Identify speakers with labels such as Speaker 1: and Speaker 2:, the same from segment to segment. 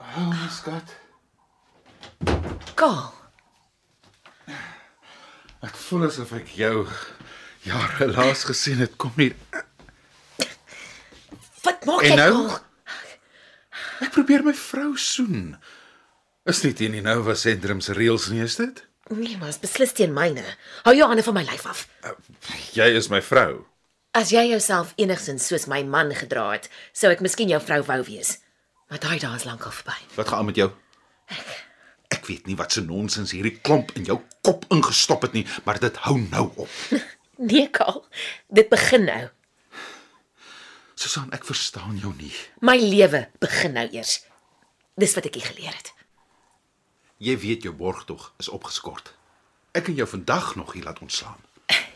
Speaker 1: Oh, my skat.
Speaker 2: Kaal.
Speaker 1: Ek voel asof ek jou jare laas gesien het. Kom hier.
Speaker 2: Wat maak jy
Speaker 1: En nou
Speaker 2: kaal?
Speaker 1: Ek probeer my vrou soen. Is nie teen die Nova Sentrum se reëls nie, is dit?
Speaker 2: Nee, maar is beslis teen myne. Hou jou hande van my lyf af.
Speaker 1: Jy is my vrou.
Speaker 2: As jy jouself enigsins soos my man gedra het, sou ek miskien jou vrou wou wees. Maar daai dae is lankal verby.
Speaker 1: Wat gaan aan met jou? Ek weet nie wat se nonsens hierdie klomp in jou kop ingestop het nie, maar dit hou nou op.
Speaker 2: Nee, Kaal. Dit begin nou.
Speaker 1: Susan, ek verstaan jou nie.
Speaker 2: My lewe begin nou eers. Dis wat ek hier geleer het.
Speaker 1: Jy weet jou borgtog is opgeskort. Ek kan jou vandag nog hier laat ontslaan.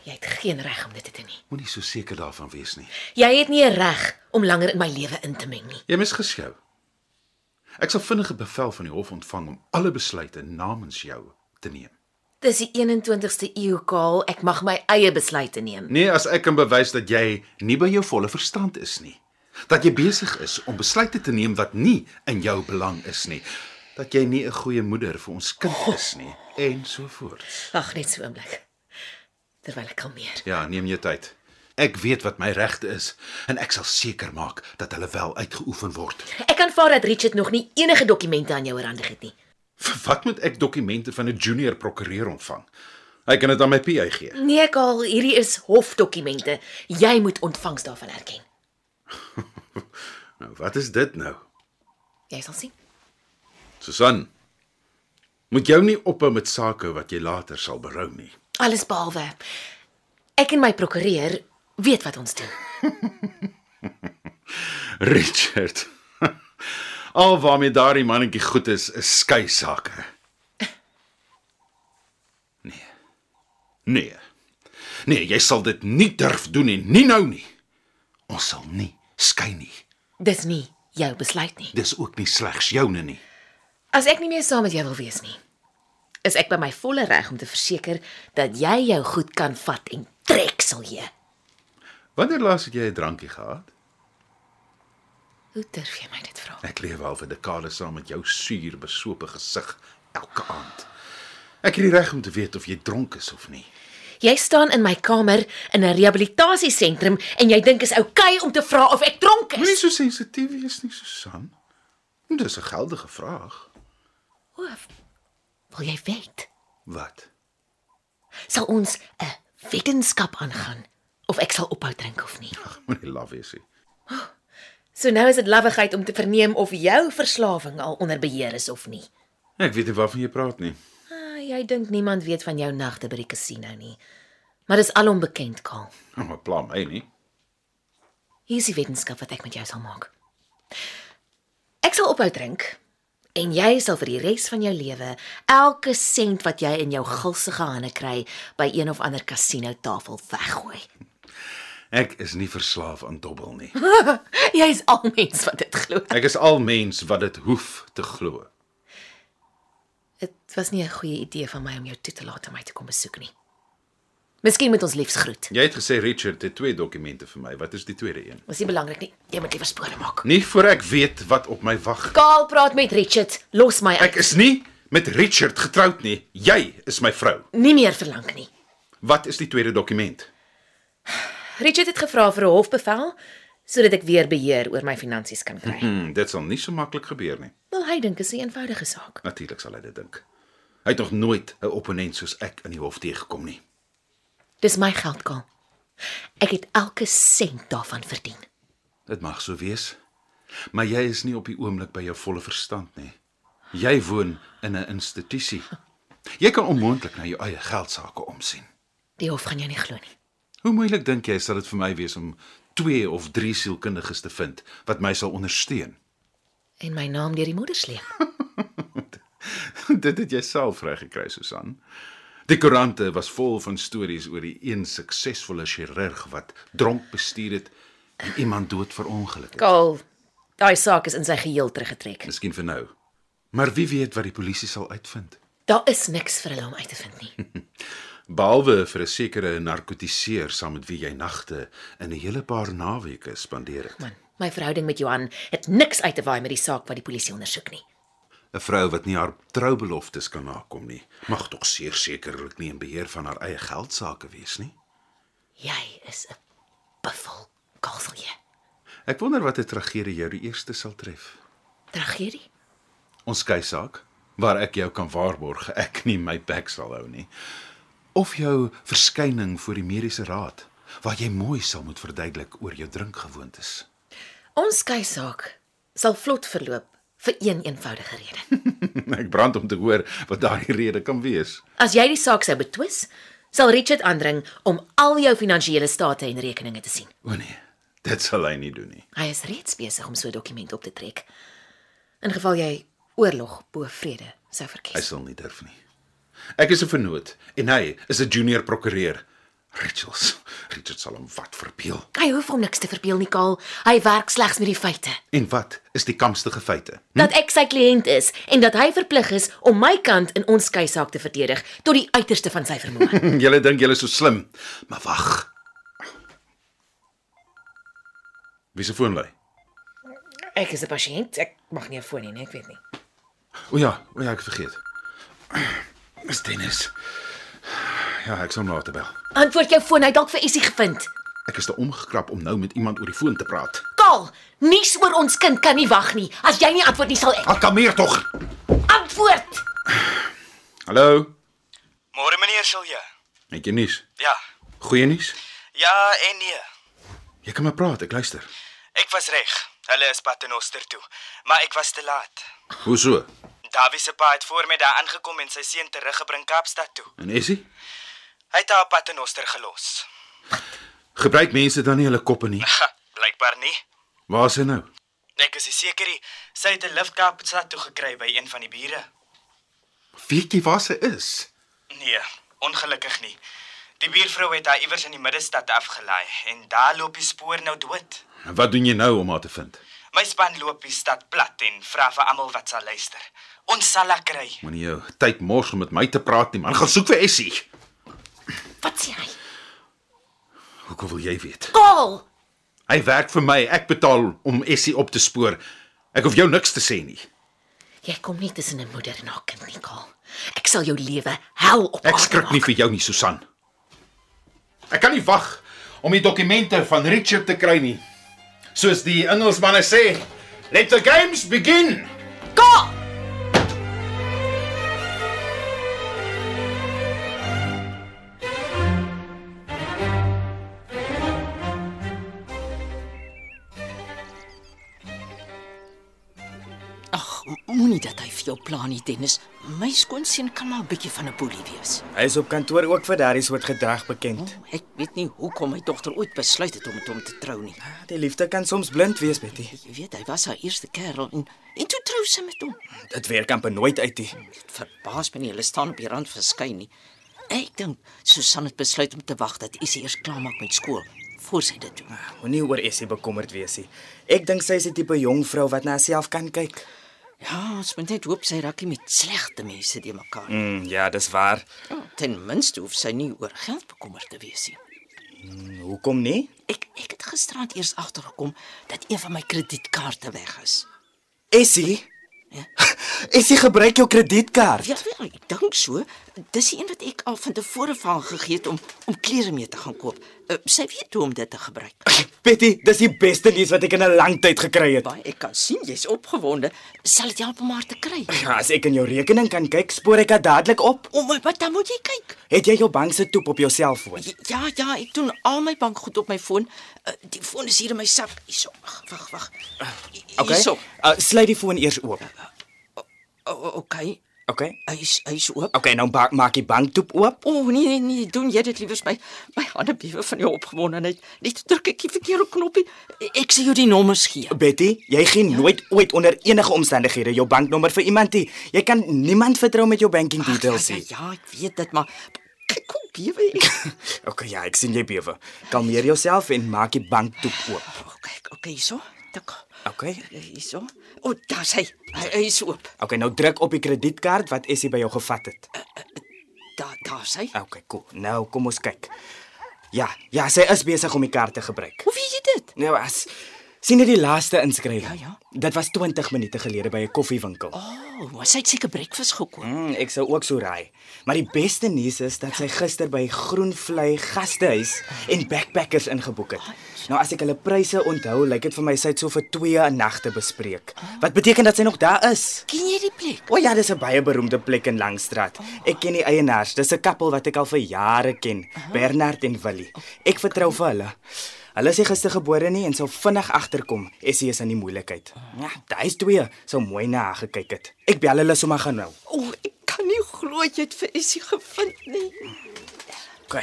Speaker 2: Jy het geen reg om dit te doen nie.
Speaker 1: Moenie so seker daarvan wees nie.
Speaker 2: Jy het nie 'n reg om langer in my lewe in te meng nie.
Speaker 1: Jy misgis jou. Ek sal vinnige bevel van die hof ontvang om alle besluite namens jou te neem.
Speaker 2: Dis die 21ste eeu, Kaal. Ek mag my eie besluite neem.
Speaker 1: Nee, as ek kan bewys dat jy nie by jou volle verstand is nie. Dat jy besig is om besluite te neem wat nie in jou belang is nie. Dat jy nie 'n goeie moeder vir ons kind is nie en so voort.
Speaker 2: Wag net so 'n oomblik. Terwyl ek kalmeer.
Speaker 1: Ja, neem jou tyd. Ek weet wat my regte is en ek sal seker maak dat hulle wel uitgeoefen word.
Speaker 2: Ek aanvaar dat Richard nog nie enige dokumente aan jou oorhandig het nie.
Speaker 1: Vir wat moet ek dokumente van 'n junior prokureur ontvang? Hy kan dit aan my PA gee.
Speaker 2: Nee, Kaal, hierdie is hofdokumente. Jy moet ontvangs daarvan erken.
Speaker 1: Nou, wat is dit nou?
Speaker 2: Jy sal sien.
Speaker 1: Susan. Moet jou nie ophou met sake wat jy later sal berou nie.
Speaker 2: Alles behalwe ek en my prokureur weet wat ons doen.
Speaker 1: Richard. Al waarmee daardie mannetjie goed is, is skei sake. Nee. Nee. Nee, jy sal dit nie durf doen nie, nie nou nie. Ons sal nie skei nie.
Speaker 2: Dis nie jou besluit nie.
Speaker 1: Dis ook nie slegs joune nie.
Speaker 2: As ek nie meer saam met jou wil wees nie, is ek by my volle reg om te verseker dat jy jou goed kan vat en trek sal jy.
Speaker 1: Wanneer laas het jy 'n drankie gehad?
Speaker 2: Hoe durf jy my dit vra?
Speaker 1: Ek leef al vir dekades saam met jou suur besope gesig elke aand. Ek het die reg om te weet of jy dronk is of nie.
Speaker 2: Jy staan in my kamer in 'n rehabilitasiesentrum en jy dink is oukei om te vra of ek dronk
Speaker 1: Moenie
Speaker 2: is.
Speaker 1: so sensitief wees nie, Susan. Dis 'n geldige vraag.
Speaker 2: O, wil jy weet?
Speaker 1: Wat?
Speaker 2: sal ons 'n wetenskap aangaan of ek sal ophou drink of nie.
Speaker 1: Ag, moenie laf wees nie.
Speaker 2: So nou is dit labbigheid om te verneem of jou verslawing al onder beheer is of nie.
Speaker 1: Ek weet nie waarvan jy praat nie.
Speaker 2: Ah, jy dink niemand weet van jou nagte by die kasino nie. Maar dis alom bekend, Kaal.
Speaker 1: Nou, maar pla my nie.
Speaker 2: Hier is die wetenskap wat ek met jou sal maak. Ek sal ophou drink en jy sal vir die res van jou lewe elke sent wat jy in jou gulsige hande kry by een of ander kasino tafel weggooi.
Speaker 1: Ek is nie verslaaf aan dobbel nie.
Speaker 2: Jy is al mens wat dit glo.
Speaker 1: Ek is al mens wat dit hoef te glo.
Speaker 2: Dit was nie 'n goeie idee van my om jou toe te laat om my te kom besoek nie. Miskien moet ons liefs groet.
Speaker 1: Jy het gesê Richard het twee dokumente vir my. Wat is die tweede een?
Speaker 2: Dis nie belangrik nie. Jy moet liewer spore maak.
Speaker 1: Nie voor ek weet wat op my wag.
Speaker 2: Kaal praat met Richard. Los my uit.
Speaker 1: Ek is nie met Richard getroud nie. Jy is my vrou.
Speaker 2: Nie meer verlang nie.
Speaker 1: Wat is die tweede dokument?
Speaker 2: Richard het gevra vir 'n hofbevel sodat ek weer beheer oor my finansies kan kry.
Speaker 1: Hmm, dit sal nie so maklik gebeur nie.
Speaker 2: Wel, hy dink is 'n eenvoudige saak.
Speaker 1: Natuurlik sal hy dit dink. Hy het nog nooit 'n opponent soos ek in die hof teëgekom nie.
Speaker 2: Dis my geld, Kaal. Ek het elke sent daarvan verdien.
Speaker 1: Dit mag so wees. Maar jy is nie op die oomblik by jou volle verstand nie. Jy woon in 'n institusie. Jy kan onmoontlik na jou eie geldsaake omsien.
Speaker 2: Die hof gaan jou nie glo nie.
Speaker 1: Hoe moeilik dink jy sal dit vir my wees om 2 of 3 sielkundiges te vind wat my sal ondersteun?
Speaker 2: en my naam deur die modder sleep.
Speaker 1: Dit het jy self reggekry, Susan. Die koerante was vol van stories oor die een suksesvolle chirurg wat dronk bestuur het en iemand dood verongeluk het.
Speaker 2: Kaal, daai saak is in sy geheel teruggetrek.
Speaker 1: Miskien vir nou. Maar wie weet wat die polisie sal uitvind?
Speaker 2: Daar is niks vir hulle om uit te vind nie.
Speaker 1: Behalwe vir 'n sekere narkotiseer saam met wie jy nagte in 'n hele paar naweke spandeer het.
Speaker 2: Man, my verhouding met Johan het niks uit te waai met die saak wat die polisie ondersoek nie.
Speaker 1: 'n Vrou wat nie haar troubeloftes kan nakom nie, mag tog seer sekerlik nie in beheer van haar eie geld sake wees nie.
Speaker 2: Jy is 'n buffel, Kaalselje.
Speaker 1: Ek wonder watter tragedie jou die eerste sal tref.
Speaker 2: Tragedie.
Speaker 1: Ons skei saak waar ek jou kan waarborg ek nie my bek sal hou nie. Of jou verskyning voor die mediese raad waar jy mooi sal moet verduidelik oor jou drinkgewoontes.
Speaker 2: Ons skei saak sal vlot verloop vir een eenvoudige rede.
Speaker 1: Ek brand om te hoor wat daardie rede kan wees.
Speaker 2: As jy die saak sou betwis, sal Richard aandring om al jou finansiële state en rekeninge te sien.
Speaker 1: O nee, dit sal hy nie doen nie.
Speaker 2: Hy is reeds besig om so 'n dokument op te trek. In geval jy oorlog bo vrede sou
Speaker 1: Hy
Speaker 2: verkies.
Speaker 1: sal nie durf nie. Ek is 'n vernoot en hy is 'n junior prokureur. Richards, Richard sal hom wat verbeel.
Speaker 2: Hy hoef hom niks te verbeel nie, Kaal. Hy werk slegs met die feite.
Speaker 1: En wat is die kamstige feite?
Speaker 2: dat ek sy kliënt is en dat hy verplig is om my kant in ons skei saak te verdedig tot die uiterste van sy vermoë.
Speaker 1: Hm, Julle dink julle is so slim, maar wag. Wie se foon lui?
Speaker 2: ek is 'n pasiënt, ek mag nie 'n foon hê nie, ek weet nie.
Speaker 1: O ja, o ja, ek het vergeet. Dis Dennis. Ja, ek sal hom later bel.
Speaker 2: Antwoord jou foon, hy het dalk vir Essie gevind.
Speaker 1: Ek is te omgekrap om nou met iemand oor die foon te praat.
Speaker 2: Kaal, nuus oor ons kind kan nie wag nie. As jy nie antwoord nie, sal ek
Speaker 1: Hak hom hier tog.
Speaker 2: antwoord.
Speaker 1: Hallo.
Speaker 3: Môre meneer Silje.
Speaker 1: Het jy nuus?
Speaker 3: Ja.
Speaker 1: Goeie nuus?
Speaker 3: Ja en nee.
Speaker 1: Jy kan maar praat, ek luister.
Speaker 3: Ek was reg. Hulle is Paternoster toe, maar ek was te laat.
Speaker 1: Hoe so?
Speaker 3: Dawie se pa het voor my daar aangekom en sy seun teruggebring Kaapstad toe.
Speaker 1: En Essie?
Speaker 3: Hy het haar Paternoster gelos.
Speaker 1: Gebruik mense dan nie hulle koppe nie.
Speaker 3: Ha, Blykbaar nie.
Speaker 1: Waar is hy nou?
Speaker 3: Ek is nie seker nie. sy het 'n lift Kaapstad toe gekry by een van die bure.
Speaker 1: Weet jy waar sy is?
Speaker 3: Nee, ongelukkig nie. Die buurvrou het haar iewers in die middestad afgelaai en daar loop die spoor nou dood.
Speaker 1: En wat doen jy nou om haar te vind?
Speaker 3: My span loop die stad plat en vra vir almal wat sal luister. Ons sal haar kry.
Speaker 1: Moenie jou tyd mors om met my te praat nie, man. Gaan soek vir Essie.
Speaker 2: Wat sê hy?
Speaker 1: Hoekom wil jy weet?
Speaker 2: Kaal,
Speaker 1: Hy werk vir my. Ek betaal om Essie op te spoor. Ek hoef jou niks te sê nie.
Speaker 2: jy kom nie tussen 'n moeder en haar kind nie, Kaal. Ek sal jou lewe hel op
Speaker 1: Ek
Speaker 2: aarde
Speaker 1: skrik nie
Speaker 2: maak.
Speaker 1: vir jou nie, Susan. Ek kan nie wag om die dokumente van Richard te kry nie. Soos die Engelsmanne sê, let the games begin.
Speaker 2: Kaal!
Speaker 4: Ag, moenie dat hy vir jou pla nie, Dennis. My skoonseun kan maar 'n bietjie van 'n boelie wees.
Speaker 3: Hy is op kantoor ook vir daardie soort gedrag bekend.
Speaker 4: Ek weet nie hoekom my dogter ooit besluit het om met hom te trou nie.
Speaker 3: Die liefde kan soms blind wees, Betty.
Speaker 4: Jy weet, hy was haar eerste kerel en en toe trou sy met hom.
Speaker 3: Dit werk amper nooit uit nie.
Speaker 4: Dit verbaas my nie hulle staan op die rand verskyn nie. Ek dink Susan het besluit om te wag dat Essie eers klaar maak met skool voor sy dit doen.
Speaker 3: Moenie oor Essie bekommerd wees nie. Ek dink sy is die tipe jong vrou wat na haarself kan kyk.
Speaker 4: Ja, ons moet net hoop sy raak nie met slegte mense te mekaar. nie.
Speaker 3: Mm, ja, dis waar.
Speaker 4: Ten minste hoef sy nie oor geld bekommerd te wees nie.
Speaker 3: Hoekom nie?
Speaker 4: Ek ek het gisterand eers agtergekom dat een van my kredietkaarte weg is.
Speaker 3: Essie?
Speaker 4: Ja?
Speaker 3: Essie gebruik jou kredietkaart.
Speaker 4: Ja, wel, ek dink so. Dis die een wat ek al van tevore van gegee het om om klere mee te gaan koop. Uh, sy weet hoe om dit te gebruik.
Speaker 3: Betty, dis die beste nuus wat ek in 'n lang tyd gekry het.
Speaker 4: Baie, ek kan sien jy's opgewonde. Sal dit help om haar te kry?
Speaker 3: Ja, as ek in jou rekening kan kyk, spoor ek haar dadelik op.
Speaker 4: O my, eh, wat dan moet jy kyk?
Speaker 3: Het jy jou bank se toep op jou selfoon?
Speaker 4: J- Ja, ja, ek doen al my bankgoed op my foon. Uh, die foon is hier in my sak. Hierso. Wag, wag, wag. Hierso.
Speaker 3: Eh, Uh, sluit die foon eers oop.
Speaker 4: O- o- Okay.
Speaker 3: Okay.
Speaker 4: Hy's hy's oop.
Speaker 3: Okay, nou ba- maak die banktoep oop.
Speaker 4: O oh, nee nee nee, doen jy dit liewers my my hande bewe van jou opgewondenheid. Net druk ek die verkeerde knoppie. Ek sê jou die nommers gee.
Speaker 3: Betty, jy gee
Speaker 4: Ja.
Speaker 3: nooit ooit onder enige omstandighede jou banknommer vir iemand nie. Jy kan niemand vertrou met jou banking details
Speaker 4: ja,
Speaker 3: nie.
Speaker 4: ja, ek weet dit, maar ek kom bewe ek.
Speaker 3: Okay, ja, ek sien jy bewe. Kalmeer jouself en maak die banktoep oop.
Speaker 4: Okay, okay, so. Tik.
Speaker 3: Okay.
Speaker 4: Eh, Hierso. O, oh, daar's hy. Hy hy is oop.
Speaker 3: Okay, nou druk op die kredietkaart wat Essie by jou gevat het.
Speaker 4: Daar daar's hy.
Speaker 3: Okay, cool. Nou kom ons kyk. Ja, ja, sy is besig om die kaart te gebruik.
Speaker 4: Hoe weet jy dit?
Speaker 3: Nou as sien jy die laaste inskrywing?
Speaker 4: Ja, ja.
Speaker 3: Dit was 20 minute gelede by 'n koffiewinkel.
Speaker 4: O, oh, sy het seker breakfast gekoop.
Speaker 3: Mm, ek sou ook so raai. Maar die beste nuus is dat sy gister by Groenvlei Gastehuis en Backpackers ingeboek het. Nou as ek hulle pryse onthou, lyk dit vir my sy het so vir 2 nagte bespreek. Wat beteken dat sy nog daar is?
Speaker 4: Ken jy die plek?
Speaker 3: O ja, dis 'n baie beroemde plek in Langstraat. Ek ken die eienaars. Dis 'n koppel wat ek al vir jare ken, Bernard en Willie. Ek vertrou vir hulle. Hulle is nie gistergebore nie en sou vinnig agterkom. Essie is in die moeilikheid. Ja, daai is twee sou mooi na haar gekyk het. Ek bel hulle sommer gaan nou.
Speaker 4: O, oh, ek kan nie glo jy het vir Essie gevind nie.
Speaker 3: OK.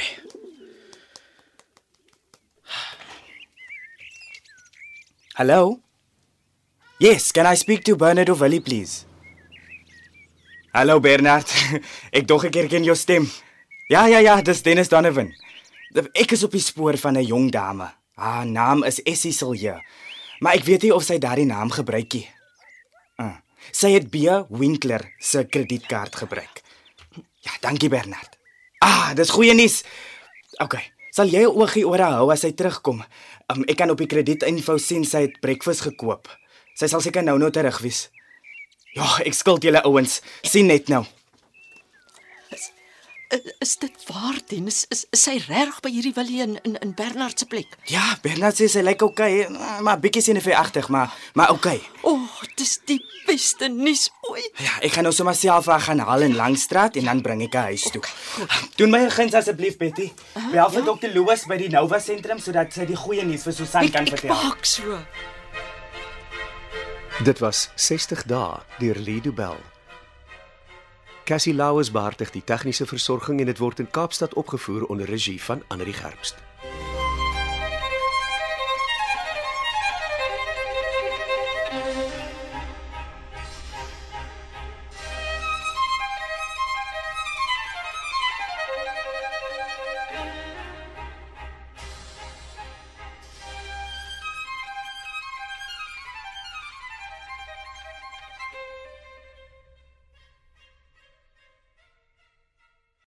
Speaker 3: Hello? Yes, can I speak to Bernard Ovelli please? Hallo Bernard. ek dog ek herken jou stem. Ja ja ja, dis Dennis Donovan. Ek is op die spoor van 'n jong dame. Haar naam is Essie Silje. Maar ek weet nie of sy daardie naam gebruik nie. Uh, sy het B Winkler se kredietkaart gebruik. Ja, dankie Bernard. Ah, dis goeie nuus. OK. Sal jy 'n oogie oor haar hou as sy terugkom? Um, ek kan op die kredietinfo sien sy het breakfast gekoop. Sy sal seker nou-nou terug wees. Ja, ek skuld julle ouens. Sien net nou.
Speaker 4: Is, Eh, is dit waar, Dennis? Is, is sy reg by hierdie Willie in in, in Bernard se plek?
Speaker 3: Ja, Bernard sê sy lyk okay, eh, maar bietjie senuweeagtig, maar maar okay.
Speaker 4: O, oh, dis die beste nuus ooit.
Speaker 3: Ja, ek gaan nou sommer self haar gaan haal in Langstraat en dan bring ek haar huis toe. Doen my 'n guns asseblief, Betty. Bel
Speaker 4: ja.
Speaker 3: vir dokter Louis by die Nova sentrum sodat sy die goeie nuus vir Susan
Speaker 4: Ek,
Speaker 3: kan
Speaker 4: ek
Speaker 3: vertel.
Speaker 4: maak so.
Speaker 5: Dit was 60 dae deur Lido Bell. Cassie Lauers beheer die tegniese versorging en dit word in Kaapstad opgevoer onder regie van Anri Gerbst.